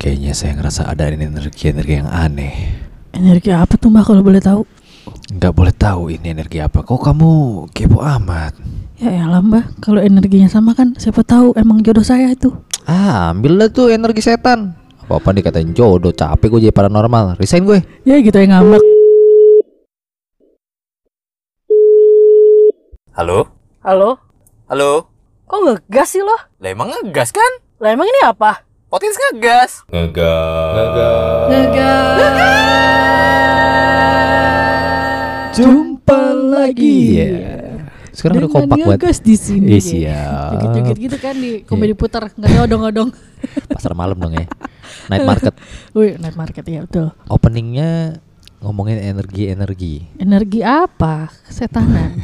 Kayaknya saya ngerasa ada energi-energi yang aneh. Energi apa tuh mbak kalau boleh tahu? Nggak boleh tahu ini energi apa. Kok kamu kepo amat? Ya elah mbak, kalau energinya sama kan siapa tahu emang jodoh saya itu. Ah, ambil lah tuh energi setan. Apa-apa dikatain jodoh, capek gue jadi paranormal. Resign gue. Ya gitu ya ngambek. Halo? Halo? Halo? Kok ngegas sih lo? Lah emang ngegas kan? Lah emang ini apa? Potins ngegas. Jumpa lagi. Iya. Sekarang Kan udah kompak buat guys di sini. Eh, siap. Iya. Joget-joget gitu kan di komedi putar nggak nyodong-nyodong. pasar malam dong ya. Night market. Wih, night market ya betul. Openingnya ngomongin energi-energi. Energi apa? Kesetanan.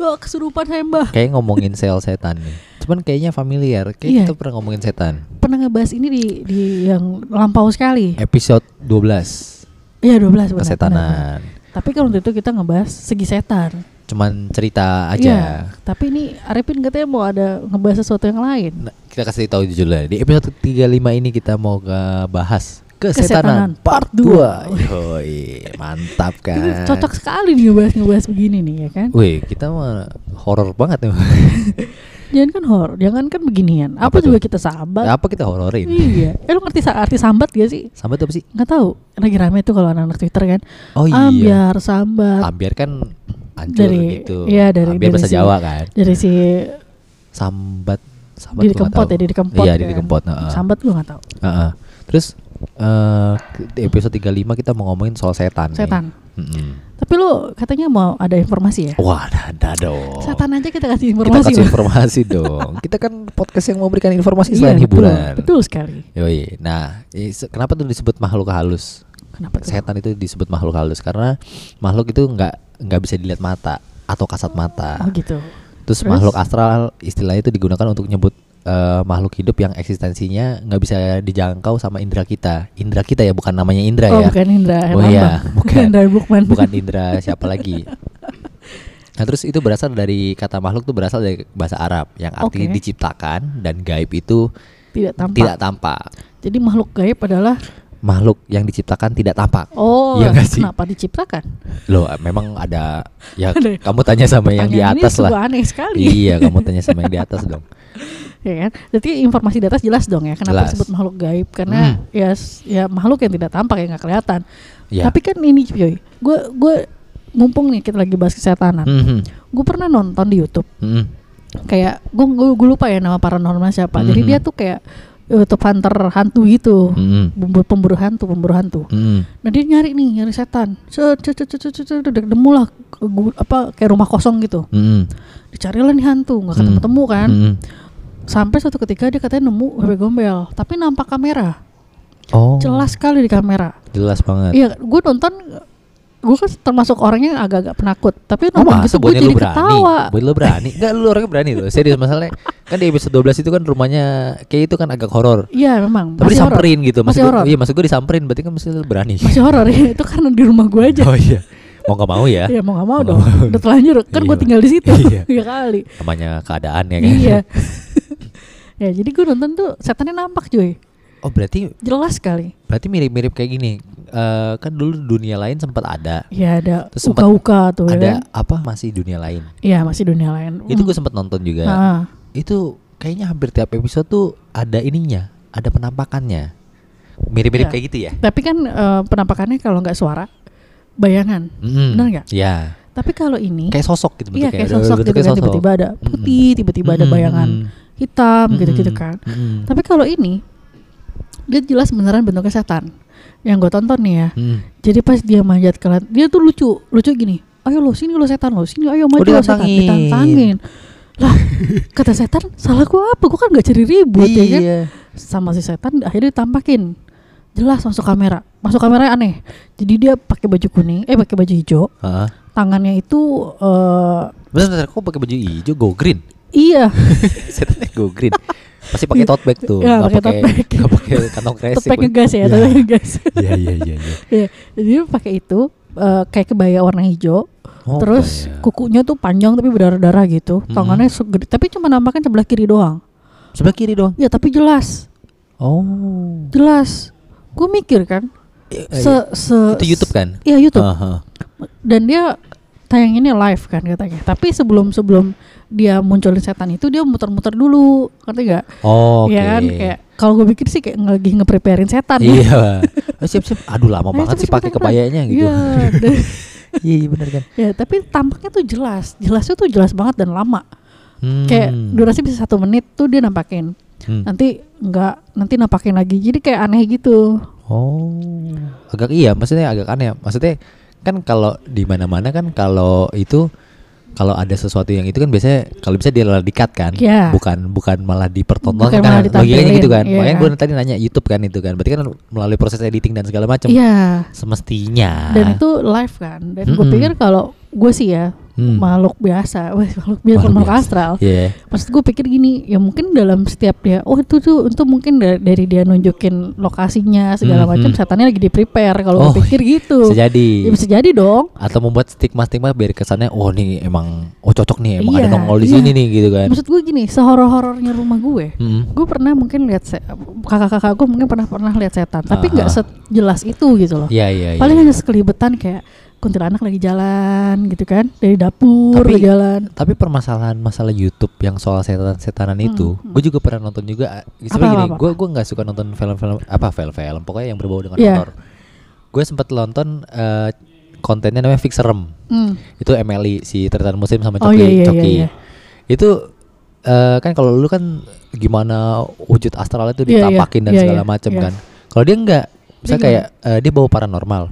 Lo kesurupan saya mbak. Kayak ngomongin sel setan nih. Cuman kayaknya familiar. Kayak Iya. kita pernah ngomongin setan. Pernah ngebahas ini di di yang lampau sekali. Episode 12 Iya 12 benar, benar, benar. kesetanan. Tapi kalau waktu itu kita ngebahas segi setan. Cuman cerita aja. Iya, tapi ini Arifin katanya mau ada ngebahas sesuatu yang lain. Nah, kita kasih tahu judulnya. Di episode 35 ini kita mau ke bahas kesetanan, Kesetanan part part 2. Yoi, mantap kan. Uh. Ini cocok sekali nih ngebahas ngebahas begini nih ya kan. Wih, kita mah horor banget nih. Jangan kan horor, jangan kan beginian. Apa, Apa juga tuh? kita sambat. Apa kita hororin? Iya. Eh lu ngerti sa- arti sambat gak sih? Sambat apa sih? Nggak tahu. Lagi rame tuh kalau anak-anak Twitter kan. Oh iya. Ambiar sambat. Ambiar kan hancur Dari- gitu. iya, dari- Ambiar dari bahasa si- Jawa kan. Dari si Sambat sambat diri gua nggak kempot tahu. ya, diri kempot. Iya, kan. diri kempot. heeh. Sambat gua nggak tahu. Heeh. Terus eh, di episode 35 kita mau ngomongin soal setan. nih. Setan. Mm-mm. Tapi lu katanya mau ada informasi ya? Wah, ada, ada dong. Setan aja kita kasih Kita informasi. kasih Bang. informasi dong. Kita kan podcast yang memberikan informasi Iya, selain betul, hiburan. Betul sekali. Yoi. Nah, i- se- kenapa tuh disebut makhluk halus? Kenapa tuh? Setan itu disebut makhluk halus karena makhluk itu nggak nggak bisa dilihat mata atau kasat mata. Oh gitu. Terus, Terus? makhluk astral istilahnya itu digunakan untuk nyebut eh, makhluk hidup yang eksistensinya nggak bisa dijangkau sama indera kita. Indera kita ya bukan namanya indera Oh ya. bukan Indra Oh Herlambang. iya, bukan. Indra Bukman. Bukan indera siapa lagi. Nah, terus itu berasal dari kata makhluk itu berasal dari bahasa Arab yang artinya Oke. diciptakan dan gaib itu Tidak tampak. tidak tampak. Jadi makhluk gaib adalah Makhluk yang diciptakan tidak tampak. oh Iya nggak sih? kenapa diciptakan? Loh, memang ada ya Ada. kamu tanya sama yang di Pertanyaan ini atas sungguh lah. aneh sekali. Iya, kamu tanya sama yang di atas dong. ya kan? Jadi informasi di atas jelas dong ya Jelas. kenapa disebut makhluk gaib karena Hmm. ya s- ya makhluk yang tidak tampak yang nggak kelihatan. Ya. Tapi kan ini cuy, gue gue mumpung nih kita lagi bahas kesetanan. Mhm, Gue pernah nonton di YouTube mhm. kayak gue gue lupa ya nama paranormal siapa. Jadi Mhm. dia tuh kayak YouTube hunter hantu gitu. Mhm, Pemburu, pemburu hantu, pemburu hantu. mhm. Nah dia nyari nih, nyari setan. Cet, cet, cet, cet, cet, cet, udah ketemu lah ke gu- apa kayak rumah kosong gitu. Mm-mm. Dicarilah nih hantu, nggak Hmm. ketemu-temu kan. Mm-mm. Sampai suatu ketika dia katanya nemu bebek gombel, tapi nampak kamera, Oh. Nah. jelas sekali di kamera. Jelas banget. Iya, gue nonton, gue kan termasuk orangnya yang agak-agak penakut, tapi Oh, nonton masa gitu bukannya gue jadi lu berani? ketawa. Buat lu berani? Enggak, lu orangnya berani loh. Serius masalahnya. Kan di episode 12 itu kan rumahnya kayak itu kan agak horor. Iya memang. Tapi masih horor. disamperin gitu. Masih Maksud gua, horor. Iya, maksud gue disamperin berarti kan mesti lu berani. Masih horor ya, itu karena di rumah gue aja. Oh iya. Mau nggak mau ya. Iya mau gak mau Mau dong, nggak mau. udah telanjur kan gue Iya. tinggal di situ, Iya. ya kali. Namanya keadaan ya kan. Iya. ya jadi gue nonton tuh setannya nampak cuy, Oh, berarti jelas sekali. berarti mirip-mirip kayak gini. Eh kan dulu dunia lain sempat ada. Ya ada Terus sempet uka-uka tuh ya Ada kan. apa masih dunia lain? Iya masih dunia lain. Itu Hmm. gue sempat nonton juga. Ah, Itu kayaknya hampir tiap episode tuh ada ininya, ada penampakannya. Mirip-mirip Iya. kayak gitu ya. Tapi kan eh, penampakannya kalau nggak suara, bayangan. Mm-mm. Bener nggak? Iya. Tapi kalau ini, Kayak sosok gitu iya Udah- kayak udah sosok bentuknya gitu kan sosok. Hmm. tiba-tiba ada putih, tiba-tiba ada Mm-mm, bayangan mm-mm, hitam mm-mm, gitu-gitu kan. mm-mm, Tapi kalau ini, dia jelas beneran bentuknya setan. Yang gue tonton nih ya. mm-mm. Jadi pas dia manjat ke lan- dia tuh lucu, lucu gini. Ayo lo sini lo setan lo sini ayo maju lo setan ditantangin. ditantangin. Lah kata setan salah gua apa? Gua kan gak cari ribut ya kan. Iya. Sama si setan akhirnya ditampakin. Jelas masuk kamera. Masuk kamera aneh. Jadi dia pakai baju kuning, eh pakai baju hijau. Heeh. Tangannya itu eh Bentar, bentar, kok pakai baju hijau go green? iya Setannya go green. Pasti pakai tote bag tuh. Iya, Nggak pakai tote bag. nggak pakai kantong kresek. tepek Bang. ngegas ya, tepek ngegas. Iya, iya, iya, iya. Iya. Jadi dia pakai itu eh, kayak kebaya warna hijau. Oh, Mhm. Terus kayak- kukunya tuh panjang tapi berdarah-darah gitu. Mm-mm. Tangannya segede, tapi cuma nampaknya sebelah kiri doang. sebelah kiri doang. Ya tapi jelas Oh. jelas gue mikir kan Eh, eh, se, se- itu YouTube kan? iya YouTube Aha. dan dia tayanginnya live kan katanya tapi sebelum sebelum dia munculin setan itu dia muter-muter dulu ngerti gak Oke. ya kan kayak kalau gue pikir sih kayak lagi ngepreparein setan Iya. Eh, siap siap. Aduh lama Ayo, banget cepet, sih pakai cepet, cepet. kebayanya gitu. Iya, dan- Iya iya, bener kan. ya tapi tampaknya tuh jelas jelasnya tuh jelas banget dan lama Hmm. kayak durasi bisa satu menit tuh dia nampakin Hmm. nanti enggak nanti nampakin lagi jadi kayak aneh gitu Oh, agak iya, maksudnya agak aneh. Maksudnya kan kalau di mana-mana kan kalau itu kalau ada sesuatu yang itu kan biasanya kalau bisa dia malah di-cut kan, Iya. bukan bukan malah dipertontonkan Bukan malah kan, logikanya gitu kan. ditampilin, iya. Makanya gue tadi nanya YouTube kan itu kan, berarti kan melalui proses editing dan segala macam. iya Semestinya. dan itu live kan dan gue Ah. Mm-mm. pikir kalau gue sih ya Hmm. makhluk biasa wah makhluk biasa Makhluk bukan makhluk biasa. astral Iya. maksud gue pikir gini ya mungkin dalam setiap dia oh itu tuh itu mungkin da- dari dia nunjukin lokasinya Mm, segala macam mm. setannya lagi di prepare Oh, kalau gue pikir gitu Bisa jadi. ya bisa jadi dong Atau membuat stigma-stigma biar kesannya oh nih emang oh cocok nih, emang ada Iya, nongol di iya. sini nih gitu kan. Hmm. maksud gue gini sehoror-horornya rumah gue Mm-mm. gue pernah mungkin lihat se- kakak-kakak gue mungkin pernah pernah lihat setan tapi Aha. nggak sejelas itu gitu loh Iya iya iya. paling hanya sekelibetan kayak kuntilanak lagi jalan gitu kan dari dapur Tapi- ke jalan Tapi permasalahan masalah YouTube yang soal setan-setanan itu, Hmm, gue juga pernah nonton juga. Sebenarnya gini, apa, apa? gue gue nggak suka nonton film-film apa film-film, pokoknya yang berbau dengan Iya. horor. Gue sempat nonton eh, kontennya namanya Fixerem. Hmm. Itu Emily si Tretan Muslim sama Oh, Coki. iya, iya, Coki. iya, iya. Itu eh, kan kalau lu kan gimana wujud astral itu Iya, iya, ditampakin dan iya, segala iya, macam iya. kan. Kalau dia nggak, misalnya gimana? kayak eh, dia bawa paranormal.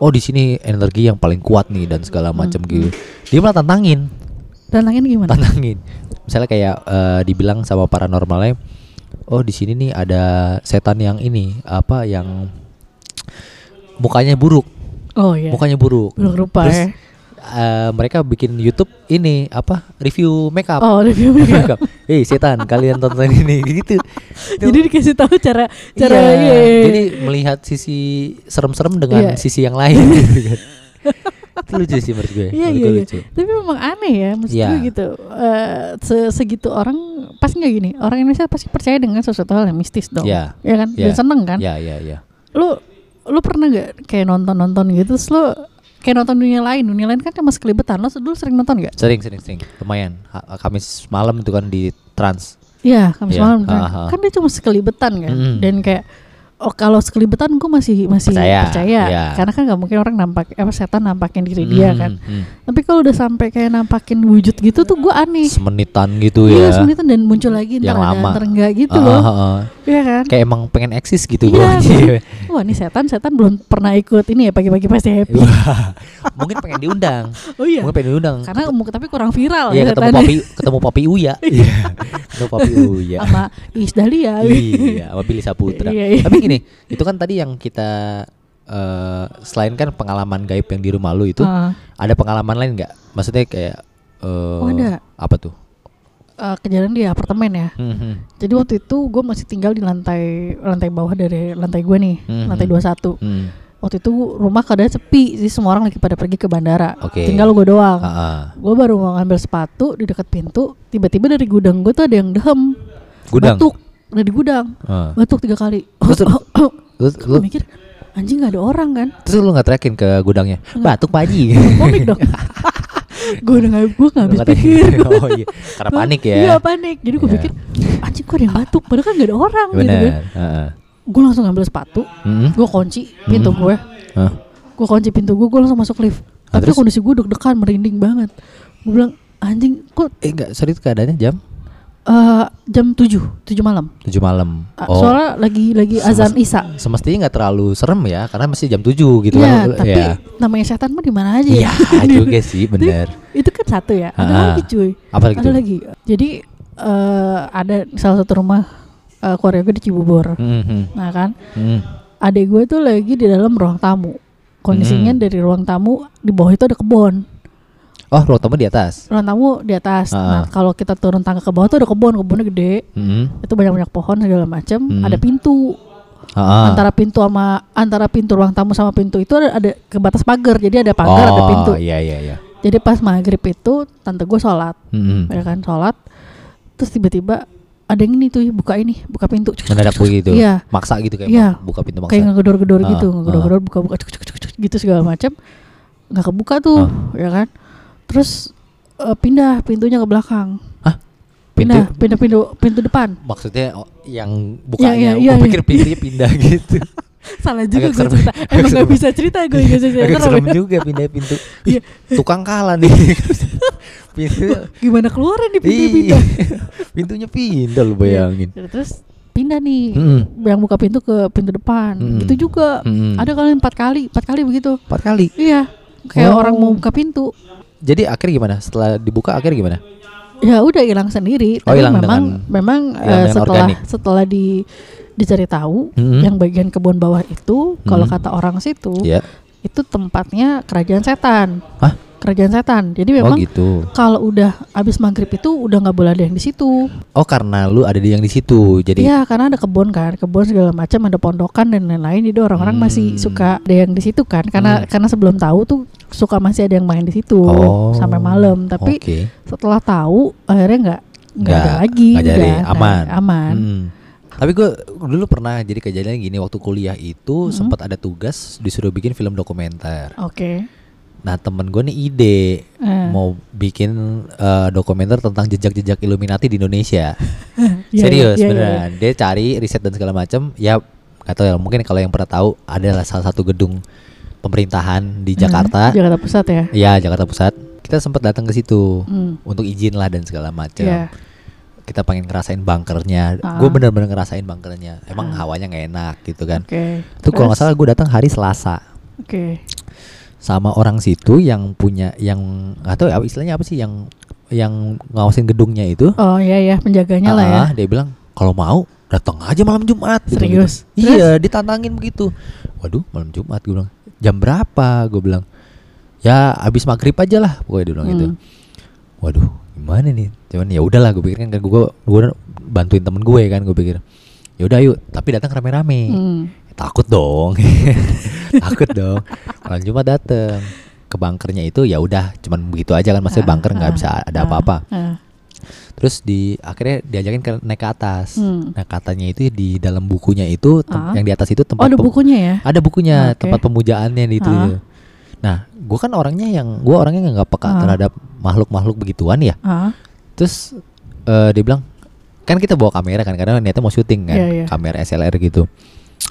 Oh di sini energi yang paling kuat nih dan segala Hmm, macam gitu. Dia malah tantangin dan lain gimana tantangin misalnya kayak eh, dibilang sama paranormalnya oh di sini nih ada setan yang ini apa yang mukanya buruk oh iya mukanya buruk belum rupa Terus, ya eh, mereka bikin YouTube ini apa review makeup oh review Review makeup. makeup hei setan kalian tonton ini gitu jadi dikasih tahu cara cara Iya, iya, iya, iya. jadi melihat sisi serem-serem dengan Iya. sisi yang lain gitu kan. itu lucu sih menurut gue Iya, menurut iya, gue iya. lucu Tapi memang aneh ya, maksud Iya. gue gitu. Eh, se- segitu orang pasti nggak gini. Orang Indonesia pasti percaya dengan sesuatu hal yang mistis dong. Iya. Ya kan? Iya. Dan seneng kan? ya ya ya Lu lu pernah nggak kayak nonton-nonton gitu terus lu kayak nonton dunia lain, dunia lain kan cuma sekelibetan. Lu dulu sering nonton nggak? Sering, sering, sering. Lumayan. Ha- Kamis malam itu kan di Trans. Iya, Kamis Iya, malam kan. aha. Kan dia cuma sekelibetan kan. Mm-mm. Dan kayak oh kalau sekelibetan gue masih masih Percaya, percaya, iya. karena kan nggak mungkin orang nampak apa setan nampakin diri dia kan. Hmm, hmm. Tapi kalau udah sampai kayak nampakin wujud gitu tuh gue aneh. Semenitan gitu ya. Iya, semenitan dan muncul lagi ntar Yang ada, lama. ntar enggak gitu Ah, loh. ah, ah. Iya kan? Kayak emang pengen eksis gitu Iya, gua. bener. Wah, ini setan, setan belum pernah ikut ini ya pagi-pagi pasti happy. Wah, Mungkin pengen diundang. Oh iya. Mungkin pengen diundang. Karena mu- tapi kurang viral gitu kan. Iya, ketemu setannya. Papi, ketemu Papi Uya. Iya. ketemu Papi Uya. sama Iis Dahlia. iya, sama Billy Saputra. Iya, iya. Tapi gini, itu kan tadi yang kita eh, selain kan pengalaman gaib yang di rumah lu itu, Ah, ada pengalaman lain nggak? Maksudnya kayak eh, Oh, ada. apa tuh? eh, kejadian di apartemen ya. Hmm, hmm. Jadi waktu itu gue masih tinggal di lantai lantai bawah dari lantai gue nih, Mhm. lantai 21. Hmm. Waktu itu rumah keadaan sepi, jadi semua orang lagi pada pergi ke bandara. Oke. Tinggal gue doang. Ah, ah. Gue baru mau ngambil sepatu di dekat pintu, tiba-tiba dari gudang gue tuh ada yang dehem. Gudang. Batuk dari gudang. Ah. Batuk tiga kali. Terus lu- Terus lu, Gue mikir anjing nggak ada orang kan? terus lu nggak trackin ke gudangnya? Batuk Pak Haji. Komik dong. gue udah nggak gue nggak habis Lu ngatain pikir. gitu. Oh iya, karena panik ya. Iya panik. Jadi gue Iya. pikir anjing kok ada yang batuk. Padahal kan nggak ada orang gitu Benar. Hmm? kan. Gue langsung ngambil sepatu. Gue kunci pintu gue. Gue kunci pintu gue. Gue langsung masuk lift. Nah, Tapi terus? kondisi gue deg-degan merinding banget. Gue bilang anjing kok Eh enggak, sorry itu keadaannya jam eh, jam 7 7 malam. 7 malam. Ah, Soalnya lagi lagi azan Oh. isya. Semestinya nggak terlalu serem ya, karena masih jam 7 gitu Iya, kan. tapi Ya. namanya setan mah di mana aja Iya ya. juga sih, Tapi benar. Itu kan satu ya. Ada Ah. lagi cuy. Apa lagi ada tuh? lagi. Jadi eh ada salah satu rumah eh, keluarga gue di Cibubur. Hmm, hmm, Nah kan, hmm. adik gue tuh lagi di dalam ruang tamu. Kondisinya Hmm. dari ruang tamu di bawah itu ada kebun. Oh, ruang tamu di atas. Ruang tamu di atas. Ah. Nah, kalau kita turun tangga ke bawah tuh ada kebun, kebunnya gede. Hmm. Itu banyak-banyak pohon segala macam, Hmm. ada pintu. ah, ah. Antara pintu sama antara pintu ruang tamu sama pintu itu ada, ada ke batas pagar. Jadi ada pagar, ada Oh, pintu. Iya, iya, iya. Jadi pas maghrib itu tante gue sholat, Hmm, hmm. ya kan sholat. Terus tiba-tiba ada yang ini tuh buka ini buka pintu cuk, cuk, mendadak cuk, cuk. begitu Iya. maksa gitu kayak Iya. mak- buka pintu maksa kayak ngegedor-gedor Ah, gitu ngegedor-gedor buka-buka cuk, cuk, cuk, cuk, gitu segala macam nggak kebuka tuh ya kan terus eh, pindah pintunya ke belakang Nah, pintu pindah pindah pintu pintu depan maksudnya oh, yang bukanya iya, gue iya. pikir pintunya pindah gitu salah Agak juga gue serem. cerita Agak emang nggak serem. bisa cerita gue nggak bisa cerita agak serem juga pindah pintu Ih, Iya. tukang kalah nih pintu gimana keluarin di pintu Iya, pindah pintunya pindah lu bayangin. Hmm. terus pindah nih Mm-mm. yang buka pintu ke pintu depan Mm-mm. gitu juga Mm-mm. ada kali empat kali empat kali begitu Hmm. Empat kali. iya kayak Oh. orang mau buka pintu Jadi akhirnya gimana? Setelah dibuka akhirnya gimana? ya udah hilang sendiri Oh, tapi hilang memang dengan- memang hilang eh, dengan setelah organik. setelah di dicari tahu Mm-mm. yang bagian kebun bawah itu kalau Mm-mm. kata orang situ Hmm. Iya. itu tempatnya kerajaan setan Hah? kerajaan setan jadi Oh memang gitu. kalau udah abis maghrib itu udah nggak boleh ada yang di situ Oh karena lu ada di yang di situ. Jadi Iya karena ada kebun kan, kebun segala macam ada pondokan dan lain-lain. Jadi orang-orang Hmm. masih suka ada yang di situ kan, karena karena sebelum tahu tuh suka masih ada yang main di situ Oh. sampai malam. Tapi oke. setelah tahu akhirnya nggak nggak ada Nggak- lagi, nggak jadi, udah, aman. nah, aman. Mm. Tapi gue dulu pernah jadi kejadian gini waktu kuliah itu Mm. sempat ada tugas disuruh bikin film dokumenter. Oke. Nah temen gue nih ide Eh, mau bikin eh, dokumenter tentang jejak-jejak Illuminati di Indonesia. iya, Serius iya, iya, iya. beneran. Dia cari riset dan segala macam. Ya nggak tahu ya. Mungkin kalau yang pernah tahu adalah salah satu gedung pemerintahan di Jakarta. Jakarta Pusat Hmm. ya. Ya Jakarta Pusat. Kita sempat datang ke situ Hmm. untuk izin lah dan segala macam. Iya. Kita pengen ngerasain bunkernya. Ah. Gue bener-bener ngerasain bunkernya. Emang hawanya nggak enak gitu kan. Oke. Itu kalau nggak Terus? salah gue datang hari Selasa Oke. sama orang situ yang punya yang atau istilahnya apa sih yang yang ngawasin gedungnya itu. Oh iya ya penjaganya lah ya. Ah, Dia bilang kalau mau datang aja malam Jumat. Dia bilang Serius? gitu. Iya, ditantangin begitu. Waduh, malam Jumat gue bilang. Jam berapa? Gue bilang. Ya, abis maghrib aja lah pokoknya dia bilang gitu. Hmm. Waduh, gimana nih? Cuman ya udahlah gue pikir kan gue gue bantuin temen gue kan gue pikir. Ya udah yuk, tapi datang rame-rame. Hmm. Takut dong. Takut dong. Malam Jumat datang. Ke bunkernya itu ya udah cuman begitu aja kan maksudnya Ah, bunker nggak ah, bisa ah, ada apa-apa. ah. Terus di akhirnya diajakin ke naik ke atas. Hmm. Nah katanya itu di dalam bukunya itu tem- Ah. yang di atas itu Oh tempat ada pem- bukunya ya? ada bukunya Oke. tempat pemujaannya di itu. Ah. Nah gue kan orangnya yang gue orangnya nggak peka Ah. terhadap makhluk-makhluk begituan ya. Ah, Terus eh, dia bilang kan kita bawa kamera kan karena niatnya mau syuting kan Iya, iya. kamera SLR gitu.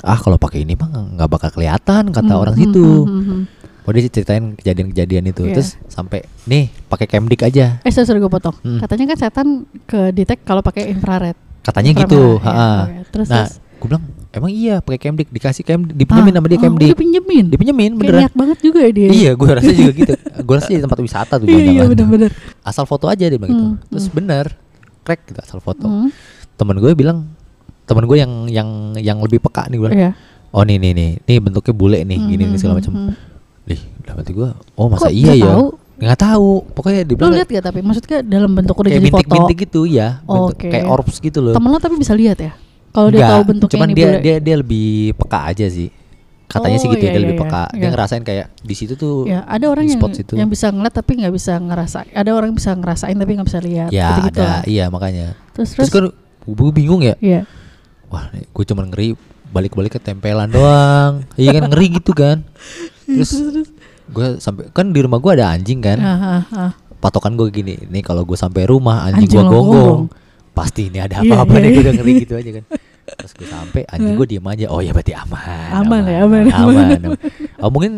Ah kalau pakai ini mah nggak nggak bakal kelihatan kata Hmm, orang hmm, situ. hmm, hmm, hmm. Oh dia ceritain kejadian-kejadian itu. Iya. Terus sampai nih pakai camdik aja. Eh sorry, sorry gue potong. Hmm. Katanya kan setan ke detect kalau pakai infrared. Katanya Inframerah, gitu. ya. ha-ha. Oke, Terus, Nah, terus? gue bilang emang iya pakai camdik dikasih camdik dipinjemin sama dia Ah, camdik. Oh, dipinjemin. dipinjemin Kayak beneran. niat banget juga ya dia. Iya, gue rasa juga gitu. Gue rasa di tempat wisata tuh iya, iya jangan-jangan. benar-benar. Asal foto aja dia bilang gitu. Hmm, Terus hmm. bener, crack gitu asal foto. Hmm, Temen gue bilang, temen gue yang yang yang lebih peka nih gue. bilang, Iya. Oh nih nih nih, nih bentuknya bule nih, gini Hmm, nih, segala hmm, macam. hmm. Ih, dalam hati gue, oh masa Kok iya dia ya? tahu? Nggak tahu, pokoknya dia Lu bilang lihat gak tapi maksudnya dalam bentuk udah kayak jadi foto. bintik-bintik gitu ya, bentuk- Oke. kayak orbs gitu loh. Temen lo tapi bisa lihat ya. Kalau dia Nggak, tahu bentuknya cuman ini dia bule. dia dia lebih peka aja sih katanya sih Oh, gitu ya, iya, dia iya, lebih iya, peka dia iya. ngerasain kayak di situ tuh ya, ada orang di yang spot situ. yang bisa ngeliat tapi nggak bisa ngerasa. Ada orang yang bisa ngerasain tapi nggak bisa lihat. ya gitu-gitu ada lah. iya makanya Terus terus, terus. kan gue bingung ya Iya. wah gue cuman ngeri balik-balik ke tempelan doang iya kan ngeri gitu kan Iya, terus gue sampai kan di rumah gue ada anjing kan Ah, ah, ah. patokan gue gini nih kalau gue sampai rumah anjing, Anjing gua lo gonggong, gonggong. pasti ini ada Iya, apa-apa iya, nih gue udah iya. ngeri gitu aja kan terus gue sampai anjing gue diem aja oh ya berarti aman Aman ya, aman, aman, aman. aman. Oh, mungkin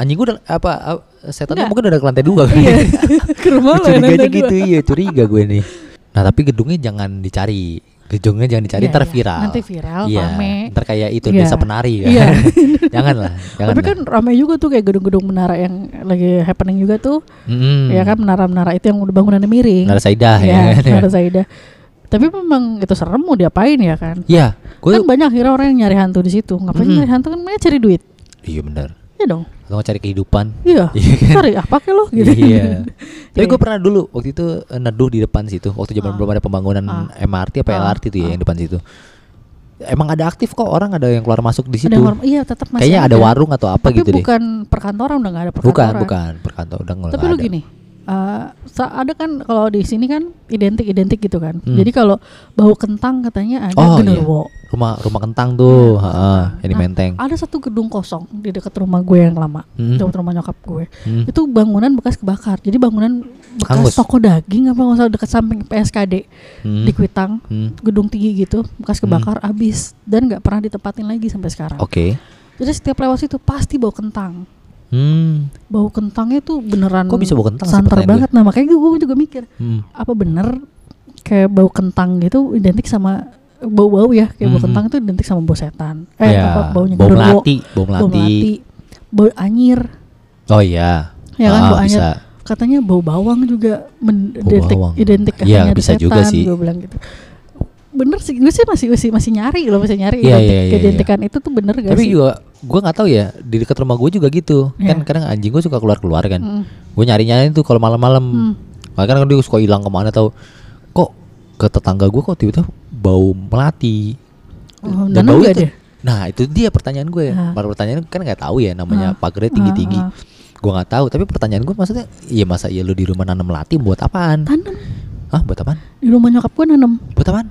anjing gue udah apa ah, setannya Nggak. mungkin udah ke lantai dua kan Iya. Ke rumah lo yang curiganya ada gitu dua. iya curiga gue nih nah tapi gedungnya jangan dicari gedungnya jangan dicari Iya, ntar iya. viral Nanti viral, iya rame. ntar kayak itu Iya. desa penari kan Iya. janganlah jangan Tapi kan ramai juga tuh kayak gedung-gedung menara yang lagi happening juga tuh. Hmm. Ya kan menara-menara itu yang udah bangunannya miring. nara saidah ya, ya, kan, ya. menara Saida. Tapi memang itu serem mau diapain ya kan? Iya, gue kan banyak akhirnya orang yang nyari hantu di situ. Ngapain Mm-mm. nyari hantu kan mereka cari duit. iya benar Iya dong. atau nggak cari kehidupan Iya. Iya kan? cari apa ke lo gitu. iya tapi Iya. gue pernah dulu waktu itu eh, neduh di depan situ waktu zaman Ah. belum ada pembangunan Ah. MRT apa Ah. LRT tuh ya yang depan situ emang ada aktif kok orang ada yang keluar masuk di Ada situ yang warung- iya tetap masih kayaknya ada warung atau apa Tapi gitu deh bukan perkantoran udah nggak ada perkantoran. bukan bukan perkantor udah nggak Tapi lu ada. gini, eh, sa- ada kan kalau di sini kan identik-identik gitu kan. Hmm. Jadi kalau bau kentang katanya ada Oh, genderuwo. rumah rumah kentang tuh heeh, yang di Nah, menteng Ada satu gedung kosong di dekat rumah gue yang lama, Hmm. dekat rumah nyokap gue. Hmm. Itu bangunan bekas kebakar. Jadi bangunan bekas Hangus. toko daging apa nggak salah dekat samping PSKD Hmm. di Kuitang, Hmm. gedung tinggi gitu, bekas kebakar habis dan nggak pernah ditempatin lagi sampai sekarang. Oke. Jadi setiap lewat situ pasti bau kentang. Hmm. Bau kentangnya tuh beneran Kok bisa bau kentang sih santer pertanyaan banget. Nah, makanya gue gue juga mikir, Hmm. apa bener kayak bau kentang gitu identik sama bau-bau ya, kayak bau Mhm. kentang itu identik sama bau setan. Eh, Ya, apa baunya bau genderuwo, melati, bau bau melati, melati. bau anyir, Oh iya. ya kan Ah, bau anyir. bisa. Katanya bau bawang juga men- Bau identik bawang. identik Iya, katanya di bisa juga setan, sih. Gue bilang gitu. Bener sih, gue sih masih masih masih nyari loh, masih nyari Iya, identik, iya, iya, iya. identikan itu tuh bener gak Tapi sih? juga gua nggak tahu ya, di dekat rumah gue juga gitu. Kan Iya. kadang anjing gue suka keluar-keluar kan. Mm. Gue nyari-nyari tuh kalau malam-malam. Hmm. Makanya kan dia suka hilang kemana tahu. Kok ke tetangga gue kok tiba-tiba bau melati. Oh, Dan nanam bau nggak itu- dia? Nah, itu dia pertanyaan gue. Ah. Baru pertanyaan kan nggak tahu ya namanya Ah, pagarnya ah, tinggi-tinggi. ah. Gue nggak tahu, tapi pertanyaan gue maksudnya, iya masa iya lu di rumah nanam melati buat apaan? Tanam Hah, buat apaan? di rumah nyokap gue nanam. Buat apaan?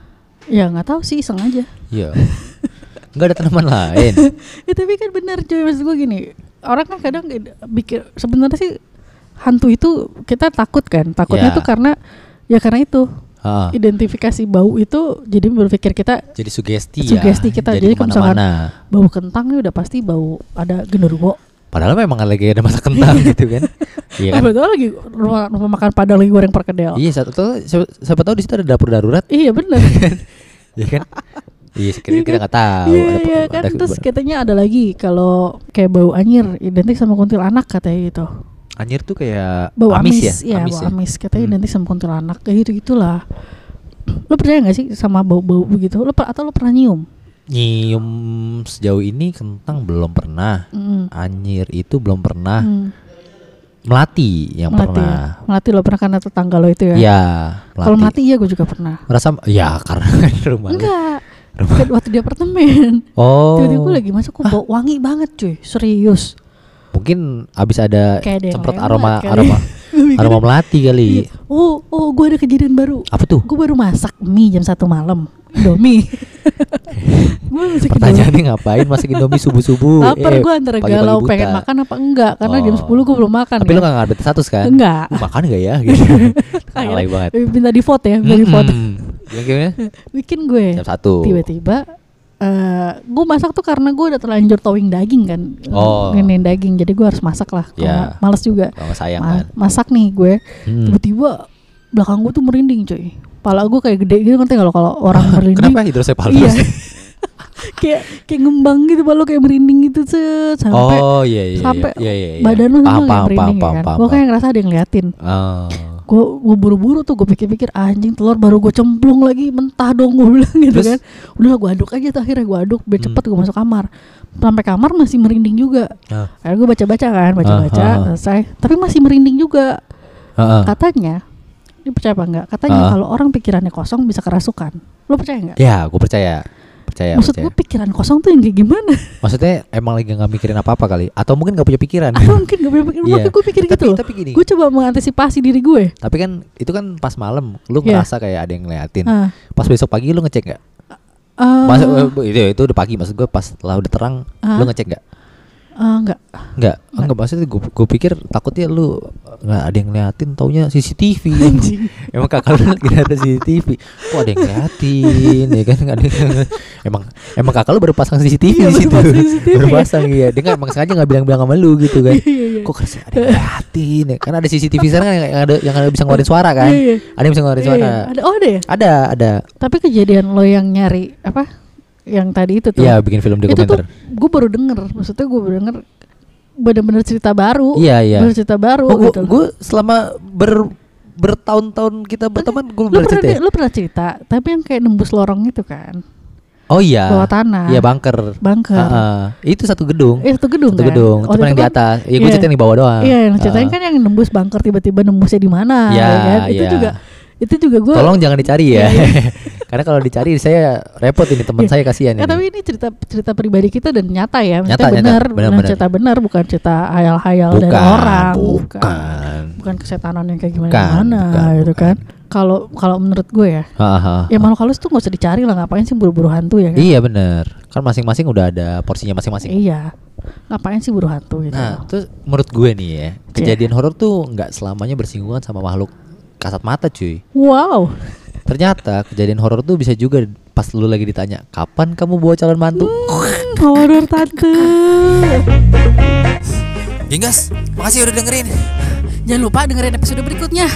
Ya nggak tahu sih, iseng aja. Iya. Enggak ada tanaman lain. ya tapi kan benar cuy maksud gue gini orang kan kadang pikir sebenarnya sih hantu itu kita takut kan takutnya Ya. tuh karena ya karena itu Ah, identifikasi bau itu jadi berpikir kita jadi sugesti, ya. Sugesti kita, jadi kalau misalkan- kemana-mana. bau kentang nih udah pasti bau ada genderuwo Padahal memang lagi ada masa kentang gitu kan. Iya yeah. kan? lagi rumah, rumah makan padang lagi goreng perkedel Iya, siapa tahu siapa, siapa tahu di situ ada dapur darurat, iya bener iya kan? Iya, sekiranya Iya kita kan? nggak tahu. iya ada- iya ada- kan terus katanya ada lagi kalau kayak bau anyir identik sama kuntilanak katanya gitu anjir tuh kayak bau amis, ya, ya, bau amis katanya Hmm. nanti sama kuntilanak kayak gitu gitulah lo percaya nggak sih sama bau-bau begitu lo per- atau lo pernah nyium Nyium sejauh ini kentang belum pernah. Mm. Anjir itu belum pernah. Mm. Melati Ah, yang melati pernah. ya? melati lo pernah karena tetangga lo itu ya, Iya, melati. kalau melati iya gue juga pernah Merasa ya karena kan rumah. lu. enggak Rumah. Kan waktu di apartemen Oh. tiba-tiba gue lagi masuk kok bau wangi banget cuy serius Mungkin abis ada Kayak ada yang semprot lewat aroma kali. aroma Gua mikir, aroma melati kali. iya. oh oh gue ada kejadian baru Apa tuh? gue baru masak mie jam satu malam domi gue masak Indomie. Pertanyaannya ngapain masak Indomie subuh-subuh? Laper Eh, gue antara pagi-pagi galau buta. pengen makan apa enggak Karena jam Oh. 10 gue belum makan Tapi kan. lu gak ngadet status kan? Enggak Lu makan gak ya? Gitu. Alay banget. Eh, Minta di vote ya Minta di vote Mm-mm. Gimana, gimana? Bikin gue Jam satu. Tiba-tiba eh Gue masak tuh karena gue udah terlanjur towing daging kan Oh. Ngenin daging Jadi gue harus masak lah Kalau Ya. nggak, Males juga Kalau nggak sayang Ma- kan. Masak nih gue Hmm. Tiba-tiba Belakang gue tuh merinding coy Pala gue kayak gede gitu ngerti kalau kalau orang merinding Kenapa hidrosepalus? Iya Kayak kayak ngembang gitu Pala kayak merinding gitu set, Sampai Oh iya iya. sampai iya, iya, iya. badan lu paham, sampai paham, paham, merinding ya paham, kan. paham, Gue paham. kayak ngerasa ada yang ngeliatin. Oh. Gue gue buru-buru tuh gue pikir-pikir "Ah, anjing telur baru gue cemplung lagi mentah dong gue bilang gitu Terus? kan. Udah gue aduk aja tuh akhirnya gue aduk biar Hmm. cepet gue masuk kamar. Sampai kamar masih merinding juga. Ah. Akhirnya gue baca-baca kan, baca-baca Ah, ah, ah. selesai. Tapi masih merinding juga. Heeh. Katanya ini percaya apa enggak? Katanya Ah. kalau orang pikirannya kosong bisa kerasukan. Lo percaya enggak? Ya, gue percaya. Percaya, Maksud iya, percaya. gue pikiran kosong tuh yang kayak gimana? Maksudnya emang lagi nggak mikirin apa-apa kali atau mungkin nggak punya pikiran. Apa mungkin gue pikir, Iya. makanya gue pikir gitu tapi, loh. tapi gini. Gue coba mengantisipasi diri ya. gue. Tapi kan itu kan pas malam lu Iya. ngerasa kayak ada yang ngeliatin. Ah. Pas besok pagi lu ngecek nggak? Eh, Mas eh, itu itu udah pagi maksud gue pas lah udah terang Ah. lu ngecek nggak? Ah, enggak. Nggak. Enggak maksudnya gue gue pikir takutnya lu eh, nggak ada yang ngeliatin taunya CCTV. Anjing. Emang kakak lu lagi ada CCTV. Kok ada yang ngeliatin ya kan nggak ada yang, emang emang kakak lu baru pasang CCTV Iya, di situ. baru pasang CCTV. Baru pasang iya. Dia nggak emang sengaja nggak bilang-bilang sama lu gitu kan. Iya, iya. Kok kerasa ada yang ngeliatin ya? Karena ada CCTV sana kan yang ada yang ada bisa ngeluarin suara kan. Iya, iya. Ada yang bisa ngeluarin Iya, suara. iya. Ada oh ada ya? Ada, ada. Tapi kejadian lo yang nyari apa? Yang tadi itu tuh. Iya, bikin film itu tuh dokumenter. gue baru denger. Maksudnya gue baru denger bener-bener cerita baru. Iya, iya. Bener cerita baru Gue gitu. gue selama ber bertahun-tahun kita berteman gue lu belum pernah cerita. ya? lu pernah cerita, tapi yang kayak nembus lorong itu kan. Oh iya. Bawah tanah. Iya bangker. Bangker. Heeh. Itu satu gedung. Eh, satu gedung Satu kan? gedung. Waktu Cuma yang itu di kan- atas. Iya, gue iya. cerita yang di bawah doang. Ah. Iya, yang ceritain Heeh. kan yang nembus bangker tiba-tiba nembusnya di mana Iya, ya kan? Itu iya. juga itu juga gue Tolong jangan dicari ya. Karena kalau dicari saya repot ini teman Iya. saya kasihan Ya, ini. tapi ini cerita cerita pribadi kita dan nyata ya. Maksudnya Nyata, nyata. benar, Benar, benar benar. cerita benar bukan cerita hayal-hayal dari orang, bukan. Bukan kesetanan yang kayak gimana Bukan, gimana bukan, gitu bukan. kan. Kalau kalau menurut gue ya, Ha, ha, ya ha. makhluk halus tuh nggak usah dicari lah ngapain sih buru-buru hantu ya kan? ah, Iya bener Kan masing-masing udah ada porsinya masing-masing. Iya. Ngapain sih buru hantu gitu. Nah, terus menurut gue nih Iya. ya, kejadian horor tuh nggak selamanya bersinggungan sama makhluk kasat mata, cuy. Wow. Ternyata kejadian horor tuh bisa juga pas lu lagi ditanya, "Kapan kamu bawa calon mantu?" Horor tante. Gingas, makasih udah dengerin. Jangan lupa dengerin episode berikutnya.